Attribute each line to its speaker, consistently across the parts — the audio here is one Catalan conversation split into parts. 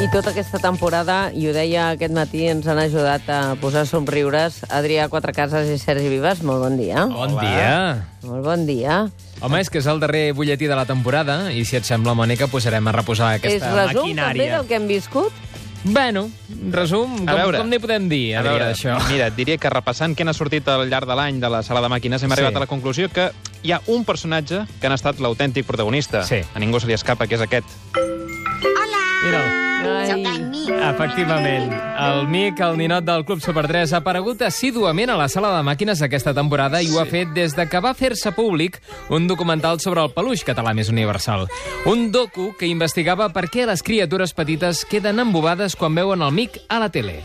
Speaker 1: I tota aquesta temporada, i ho deia aquest matí, ens han ajudat a posar somriures Adrià Quatrecases i Sergi Vives. Molt bon dia.
Speaker 2: Bon dia.
Speaker 1: Molt bon dia.
Speaker 2: Home, és que és el darrer butlletí de la temporada i si et sembla, Mònica, posarem a reposar
Speaker 1: És
Speaker 2: aquesta
Speaker 1: resum també
Speaker 2: maquinària.
Speaker 1: del que hem viscut?
Speaker 2: Bueno, resum, com,
Speaker 3: A veure.
Speaker 2: com n'hi podem dir,
Speaker 3: A veure,
Speaker 2: d'això?
Speaker 3: mira, et diria que repassant què n'ha sortit al llarg de l'any de la sala de màquines, hem
Speaker 2: Sí.
Speaker 3: arribat a la conclusió que hi ha un personatge que han estat l'autèntic protagonista.
Speaker 2: Sí.
Speaker 3: A ningú se li escapa, que és aquest.
Speaker 2: Mira'l.
Speaker 4: Sóc
Speaker 1: Ai,
Speaker 4: el Mic.
Speaker 2: Efectivament. El Mic, el ninot del Club Super 3, ha aparegut assíduament a la sala de màquines aquesta temporada i ho ha fet des de que va fer-se públic un documental sobre el peluix català més universal. Un docu que investigava per què les criatures petites queden embobades quan veuen el Mic a la tele.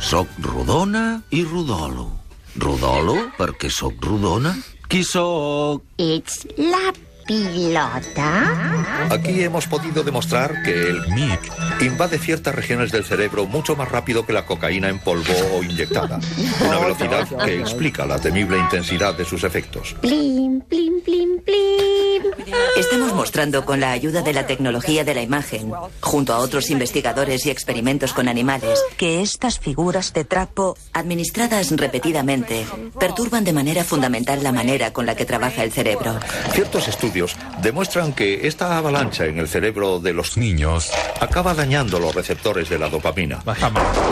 Speaker 5: Soc rodona i rodolo. Rodolo perquè sóc rodona. Qui sóc?
Speaker 4: Ets la pilota?
Speaker 6: Aquí hemos podido demostrar que el MIC invade ciertas regiones del cerebro mucho más rápido que la cocaína en polvo o inyectada. Una velocidad que explica la temible intensidad de sus efectos.
Speaker 4: Plim, plim, plim, plim.
Speaker 7: Estamos mostrando con la ayuda de la tecnología de la imagen, junto a otros investigadores y experimentos con animales, que estas figuras de trapo, administradas repetidamente, perturban de manera fundamental la manera con la que trabaja el cerebro.
Speaker 6: Ciertos estudios demuestran que esta avalancha en el cerebro de los niños acaba dañando los receptores de la dopamina.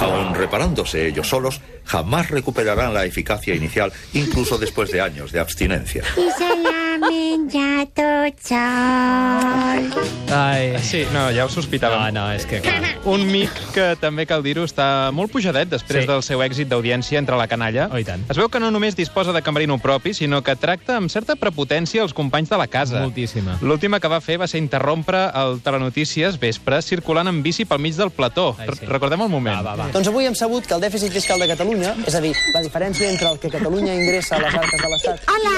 Speaker 6: Aun reparándose ellos solos, jamás recuperarán la eficacia inicial, incluso después de años de abstinencia.
Speaker 4: I se l'amen ja tot sol.
Speaker 2: Ai...
Speaker 3: Sí, no, ja ho
Speaker 2: No,
Speaker 3: sospitàvem.
Speaker 2: Ah, no, és que... Clar.
Speaker 3: Un mic que, també cal dir-ho, està molt pujadet després
Speaker 2: Sí.
Speaker 3: sí. del seu èxit d'audiència entre la canalla.
Speaker 2: Oh, i tant.
Speaker 3: Es veu que no només disposa de cambrino propi, sinó que tracta amb certa prepotència els companys de la casa.
Speaker 2: Moltíssima.
Speaker 3: L'última que va fer va ser interrompre el Telenotícies vespre circulant amb bici pel mig del plató.
Speaker 2: Ai,
Speaker 3: Ai,
Speaker 2: sí.
Speaker 3: sí. Recordem el moment.
Speaker 2: Va, va, va.
Speaker 8: Doncs avui hem sabut que el dèficit fiscal de Catalunya, és a dir, la diferència entre el que Catalunya ingressa a les arques de l'Estat
Speaker 4: Hola!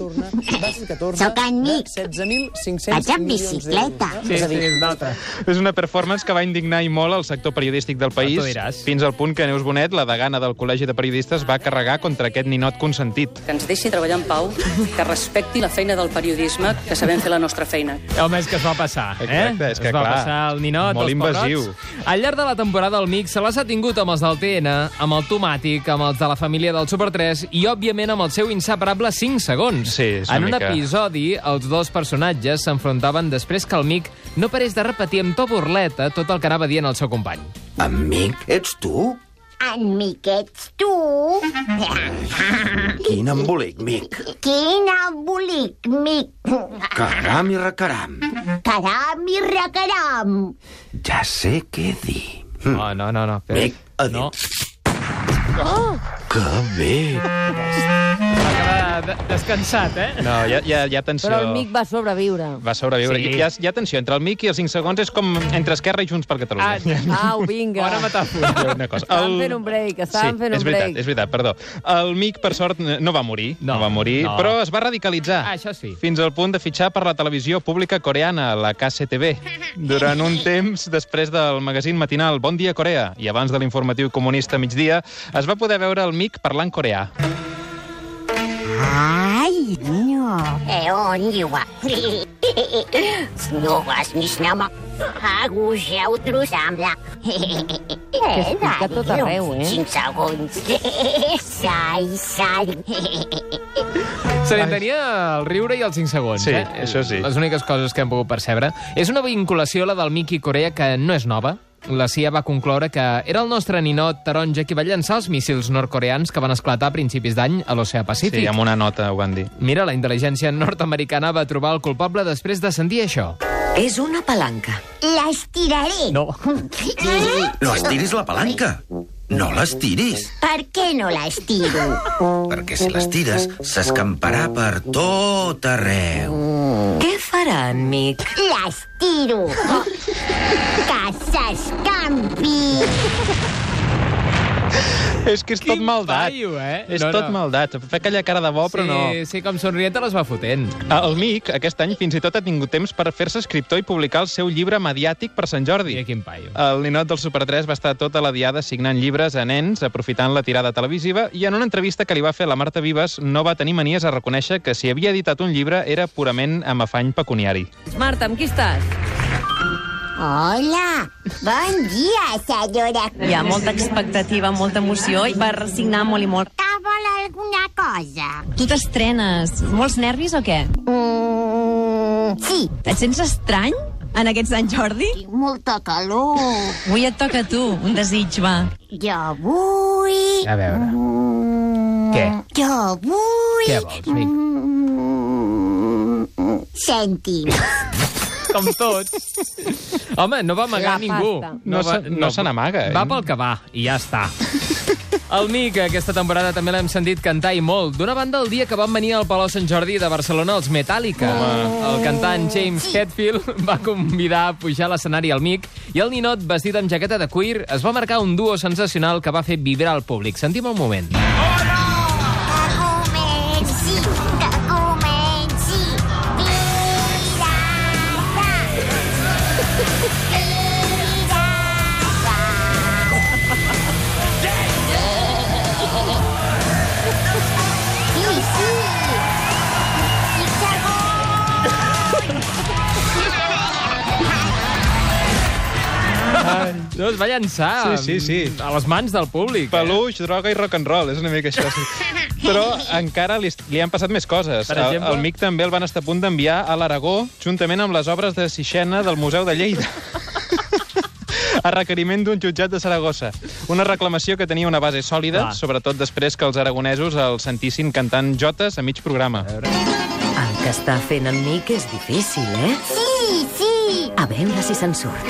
Speaker 8: torna, va ser 14
Speaker 4: Sóc en
Speaker 8: de
Speaker 4: Mic.
Speaker 8: 16.500
Speaker 4: Vaig amb
Speaker 8: milions d'euros.
Speaker 4: bicicleta.
Speaker 2: Sí,
Speaker 8: és a dir,
Speaker 2: sí, és d'altre.
Speaker 3: És una performance que va indignar i molt el sector periodístic del país,
Speaker 2: tu diràs.
Speaker 3: fins al punt que Neus Bonet, la degana del Col·legi de Periodistes, va carregar contra aquest ninot consentit.
Speaker 9: que ens deixi treballar en pau, que respecti la feina del periodisme, que sabem fer la nostra feina.
Speaker 2: Home, és que es va passar,
Speaker 3: Exacte,
Speaker 2: eh?
Speaker 3: és que
Speaker 2: es va
Speaker 3: clar,
Speaker 2: passar el ninot,
Speaker 3: molt
Speaker 2: els
Speaker 3: invasiu.
Speaker 2: pebrots. Al llarg de la temporada el Mic se les ha tingut amb els del TN, amb el Tomàtic, amb els de la família del Super 3 i, òbviament, amb el seu inseparable 5 segons.
Speaker 3: Sí, és una
Speaker 2: en un
Speaker 3: mica-
Speaker 2: episodi, els dos personatges s'enfrontaven després que el Mic no parés de repetir amb to burleta tot el que anava dient el seu company.
Speaker 5: Amic, ets tu?
Speaker 4: En Mic ets tu.
Speaker 5: Quin embolic, mic.
Speaker 4: Quin embolic, Mic.
Speaker 5: Caram i recaram.
Speaker 4: Caram i recaram.
Speaker 5: Ja sé què dir.
Speaker 3: Mm.
Speaker 2: No, Oh, no, no. no.
Speaker 5: Mic, a
Speaker 2: no.
Speaker 5: dins. Que bé.
Speaker 2: Va quedar Ah, de- descansat, eh?
Speaker 3: No, hi ha, hi ha, hi ha tensió.
Speaker 1: però el Mic va sobreviure.
Speaker 3: Va sobreviure.
Speaker 2: Sí.
Speaker 3: Sí. Hi, ha, hi ha tensió entre el Mic i els 5 segons. És com entre Esquerra i Junts per Catalunya.
Speaker 2: Ah,
Speaker 1: Au, vinga.
Speaker 2: Bona metàfora.
Speaker 3: Hi ha una cosa.
Speaker 1: Estàvem fent un break, estàvem
Speaker 3: sí,
Speaker 1: fent un
Speaker 3: és veritat,
Speaker 1: break.
Speaker 3: és veritat, perdó. El Mic, per sort, no va morir,
Speaker 2: No,
Speaker 3: no, va morir,
Speaker 2: no.
Speaker 3: però es va radicalitzar.
Speaker 2: Ah, això sí.
Speaker 3: Fins al punt de fitxar per la televisió pública coreana, la KCTV, durant un temps després del magazín matinal Bon Dia Corea i abans de l'informatiu comunista a migdia, es va poder veure el Mic parlant coreà.
Speaker 4: Ai, no. Eon, iwa. No vas ni snama. Agugeu trosambla. Que
Speaker 1: és picat tot arreu, eh?
Speaker 4: 5 segons. Sai, sai.
Speaker 2: Se li entenia el riure i els 5 segons,
Speaker 3: Sí,
Speaker 2: eh?
Speaker 3: això sí.
Speaker 2: Les úniques coses que hem pogut percebre. És una vinculació, la del Miki Corea, que no és nova. La CIA va concloure que era el nostre ninot taronja qui va llançar els míssils nord-coreans que van esclatar a principis d'any a l'oceà Pacífic.
Speaker 3: Sí, amb una nota ho van dir.
Speaker 2: Mira, la intel·ligència nord-americana va trobar el culpable després de sentir això.
Speaker 7: Es una palanca.
Speaker 4: L'estiraré.
Speaker 2: No.
Speaker 5: No estiris la palanca. No l'estiris,
Speaker 4: Per què no l'estiro?
Speaker 5: perquè si l'estires s'escamparà per tot arreu.
Speaker 7: ¿Qué farán, Mick?
Speaker 4: L'estiro. Que s'escampi.
Speaker 3: És que és tot
Speaker 2: Quin
Speaker 3: maldat.
Speaker 2: paio, eh?
Speaker 3: És
Speaker 2: No,
Speaker 3: tot
Speaker 2: no.
Speaker 3: maldat. Fa aquella cara de bo, però no. Ah,
Speaker 2: Sí, sí, com somrient te les va fotent.
Speaker 3: El Mic, aquest any, fins i tot ha tingut temps per fer-se escriptor i publicar el seu llibre mediàtic per Sant Jordi.
Speaker 2: Mira quin paio.
Speaker 3: El ninot del Super 3 va estar tota la diada signant llibres a nens, aprofitant la tirada televisiva, i en una entrevista que li va fer la Marta Vives no va tenir manies a reconèixer que si havia editat un llibre era purament amb afany pecuniari.
Speaker 1: Marta, amb qui estàs?
Speaker 4: Hola, bon dia, senyora.
Speaker 10: Hi ha molta expectativa, molta emoció i per signar molt i molt.
Speaker 4: Que vol alguna cosa?
Speaker 10: Tu t'estrenes. Molts nervis o què?
Speaker 4: Mm, sí,
Speaker 10: Et sents estrany en aquest Sant Jordi?
Speaker 4: tinc molta calor.
Speaker 10: Avui et toca a tu, un desig, va.
Speaker 4: Jo vull...
Speaker 2: A veure.
Speaker 4: Mm,
Speaker 2: Què?
Speaker 4: Jo vull...
Speaker 2: Què vols, Mic?
Speaker 4: Mm, cèntims.
Speaker 2: Com tots. Home, no va amagar
Speaker 1: La
Speaker 2: ningú.
Speaker 1: pasta.
Speaker 3: No se- no se n'amaga, eh?
Speaker 2: Va pel que va, i ja està. El Mic, aquesta temporada també l'hem sentit cantar i molt. D'una banda, el dia que van venir al Palau Sant Jordi de Barcelona els Metallica. El cantant James Hetfield va convidar a pujar a l'escenari al Mic i el ninot, vestit amb jaqueta de cuir, es va marcar un duo sensacional que va fer vibrar el públic. Sentim el moment.
Speaker 4: Que comenci, que comenci, pirata. Pirata. Sí, sí. I segon.
Speaker 2: No, es va llançar
Speaker 3: Sí, sí, sí.
Speaker 2: a les mans del públic. eh?
Speaker 3: Peluix, droga i rock and roll, és una mica això. Sí. Però encara li, li han passat més coses.
Speaker 2: Per exemple?
Speaker 3: El, el Mic també el van estar a punt d'enviar a l'Aragó, juntament amb les obres de Sixena del Museu de Lleida. a requeriment d'un jutjat de Saragossa. Una reclamació que tenia una base sòlida,
Speaker 2: Clar.
Speaker 3: sobretot després que els aragonesos el sentissin cantant jotes a mig programa.
Speaker 11: El que està fent amb mi que és difícil, eh?
Speaker 4: Sí, sí.
Speaker 11: A veure si se'n surt.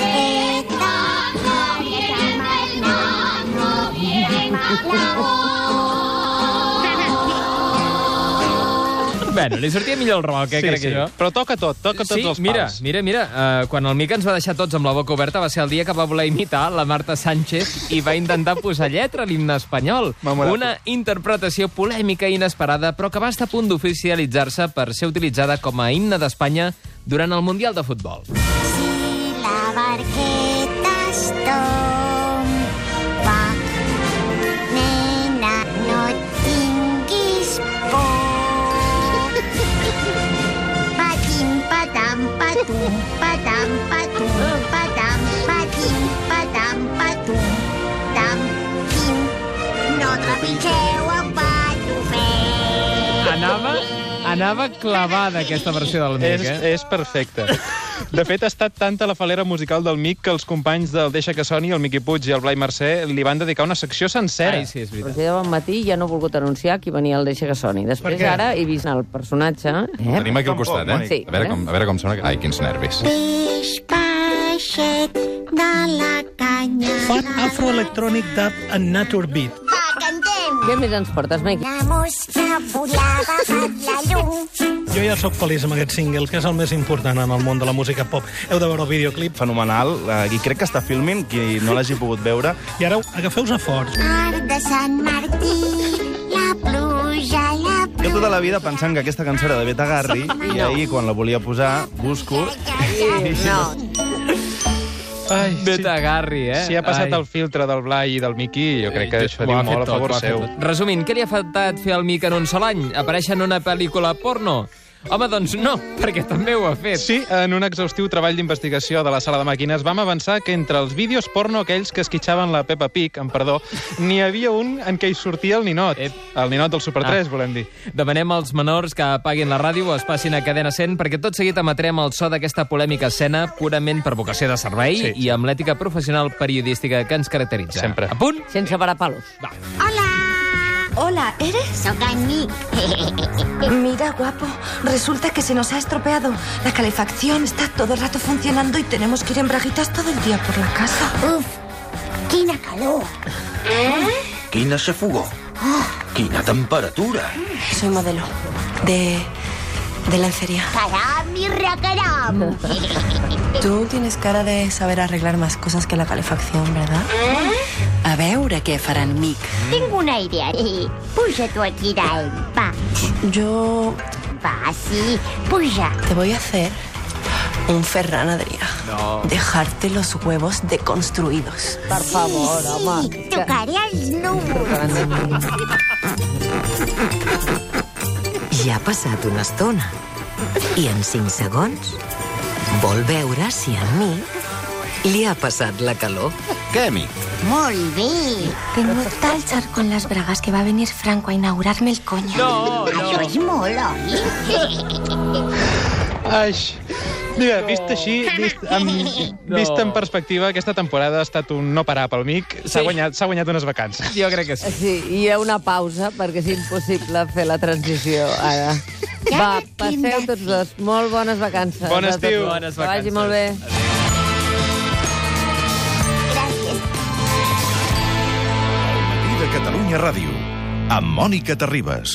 Speaker 2: Bueno, li sortia millor el rock, eh, crec que jo.
Speaker 3: Però toca tot, toca tots
Speaker 2: sí,
Speaker 3: els
Speaker 2: mira,
Speaker 3: pals.
Speaker 2: mira, mira, uh, quan el Mica ens va deixar tots amb la boca oberta va ser el dia que va voler imitar la Marta Sánchez i va intentar posar lletra a l'himne espanyol.
Speaker 3: Memorable.
Speaker 2: Una interpretació polèmica i inesperada, però que va estar a punt d'oficialitzar-se per ser utilitzada com a himne d'Espanya durant el Mundial de Futbol.
Speaker 4: Si la barqueta es tomba, nena, no tinguis por. Patim, patam, patum, patam, patum, patam, patim, patam, patum, tam, tim. No trepitgeu en Batofet.
Speaker 2: Anava, anava clavada aquesta versió del
Speaker 3: És,
Speaker 2: Mic, eh?
Speaker 3: és perfecte. De fet, ha estat tanta la falera musical del Mic que els companys del Deixa que soni, el Miqui Puig i el Blai Mercè, li van dedicar una secció sencera.
Speaker 2: Ai, sí, és
Speaker 1: Però
Speaker 2: veritat.
Speaker 1: si de bon matí ja no he volgut anunciar qui venia al Deixa que soni. Després ara he vist el personatge... Eh?
Speaker 12: Tenim aquí al costat, eh?
Speaker 1: Sí.
Speaker 12: A veure com, a veure com sona... Ai, quins nervis.
Speaker 4: Peix, peixet de la canya.
Speaker 13: Fan afroelectrònic dub en Nature Beat.
Speaker 4: Va, cantem!
Speaker 1: Què més ens portes, Mike?
Speaker 4: La mosca volava per la llum.
Speaker 13: Jo ja sóc feliç amb aquest single, que és el més important en el món de la música pop. Heu de veure el videoclip.
Speaker 14: fenomenal, eh, i crec que està filmint, qui no l'hagi pogut veure.
Speaker 13: I ara agafeu-vos a forts.
Speaker 4: Arc de Sant Martí, la pluja, la
Speaker 14: Jo
Speaker 4: pluja.
Speaker 14: tota la vida pensant que aquesta cançó era de Beta Garri, i ahir, quan la volia posar, busco...
Speaker 1: No,
Speaker 3: Ai,
Speaker 2: Beta Garri, eh?
Speaker 3: Si ha passat
Speaker 2: Ai.
Speaker 3: el filtre del Blai i del Miqui, jo crec que
Speaker 2: Eh,
Speaker 3: això
Speaker 2: ho
Speaker 3: diu
Speaker 2: ha fet
Speaker 3: molt a
Speaker 2: tot,
Speaker 3: favor
Speaker 2: ho ha fet
Speaker 3: seu.
Speaker 2: tot. Resumint, què li ha faltat fer al Mic en un sol any? Aparèixer en una pel·lícula porno? Home, doncs no, perquè també ho ha fet.
Speaker 3: Sí, en un exhaustiu treball d'investigació de la sala de màquines vam avançar que entre els vídeos porno aquells que esquitxaven la Peppa Pig, en perdó, n'hi havia un en què hi sortia el ninot.
Speaker 2: Ep.
Speaker 3: El ninot del
Speaker 12: Ah.
Speaker 3: Super 3, volem dir.
Speaker 2: Demanem als menors que apaguin la ràdio o es passin a cadena 100 perquè tot seguit emetrem el so d'aquesta polèmica escena purament per vocació de servei sí. i amb l'ètica professional periodística que ens caracteritza.
Speaker 3: Sempre.
Speaker 2: A punt?
Speaker 1: sense parar palos.
Speaker 4: Hola,
Speaker 11: Hola, ¿eres?
Speaker 4: sóc en Nick.
Speaker 11: Mira, guapo, resulta que se nos ha estropeado. La calefacción está todo el rato funcionando y tenemos que ir en braguitas todo el día por la casa.
Speaker 4: Uf, quina calor.
Speaker 5: Quina xafogó. Quina temperatura.
Speaker 11: Soy modelo de... de lencería.
Speaker 4: Caram i recaram.
Speaker 11: Tú tienes cara de saber arreglar más cosas que la calefacción, ¿verdad? A veure què faran mic.
Speaker 4: Tinc una idea. Puja tu aquí dalt. Va,
Speaker 11: Jo
Speaker 4: va, sí, puja.
Speaker 11: te voy a hacer un Ferran Adrià. No. Dejarte los huevos deconstruidos.
Speaker 1: Per favor, home.
Speaker 4: Sí, tocaré els núvols.
Speaker 11: Ja ha passat una estona. I en 5 segons vol veure si en mi Li ha passat la calor? Què, amic?
Speaker 4: Muy bien. Tengo tal char con las bragas que va a venir Franco a inaugurarme el coño.
Speaker 3: No, no.
Speaker 4: Això és molt,
Speaker 3: Ai, mira, vist així, vist, amb,
Speaker 2: No.
Speaker 3: vist en perspectiva, aquesta temporada ha estat un no parar pel Mic. S'ha
Speaker 2: Sí.
Speaker 3: guanyat, s'ha guanyat unes vacances.
Speaker 2: Jo crec que sí.
Speaker 1: Sí, hi ha una pausa perquè és impossible fer la transició ara. Va, passeu tots dos. Molt bones vacances.
Speaker 3: Bon
Speaker 1: a tots
Speaker 3: estiu.
Speaker 1: dos.
Speaker 3: Bones
Speaker 1: Que vagi
Speaker 3: vacances.
Speaker 1: molt bé.
Speaker 6: I de Catalunya Ràdio, amb Mònica Terribas.